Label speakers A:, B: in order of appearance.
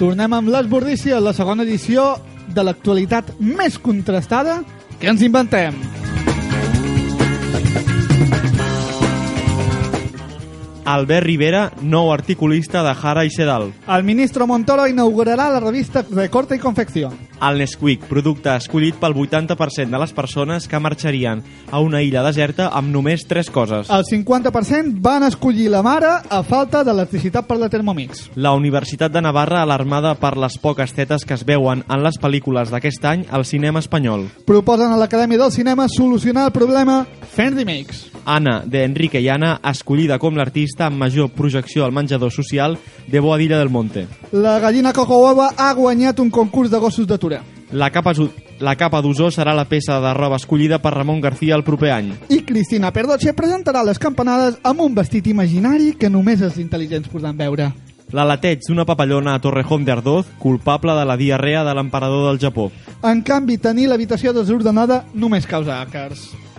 A: Tornem amb l'Esbordícia, la segona edició de l'actualitat més contrastada que ens inventem.
B: Albert Rivera, nou articulista de Jara i Sedal.
A: El ministre Montoro inaugurarà la revista de corte i confecció.
B: El Nesquik, producte escollit pel 80% de les persones que marxarien a una illa deserta amb només tres coses.
A: El 50% van escollir la mare a falta d'electricitat per la Thermomix.
B: La Universitat de Navarra alarmada per les poques tetes que es veuen en les pel·lícules d'aquest any al cinema espanyol.
A: Proposen a l'Acadèmia del Cinema solucionar el problema fent remakes.
B: Anna, d'Enrique i Anna, escollida com l'artista amb major projecció al menjador social de Boadilla del Monte.
A: La gallina Coco Hueva ha guanyat un concurs de gossos d'atura.
B: La capa, azu- la capa d'ozó serà la peça de roba escollida per Ramon García el proper any.
A: I Cristina Perdoche presentarà les campanades amb un vestit imaginari que només els intel·ligents podran veure.
B: L'alateig d'una papallona a Torrejón de Ardoz, culpable de la diarrea de l'emperador del Japó.
A: En canvi, tenir l'habitació desordenada només causa àcars.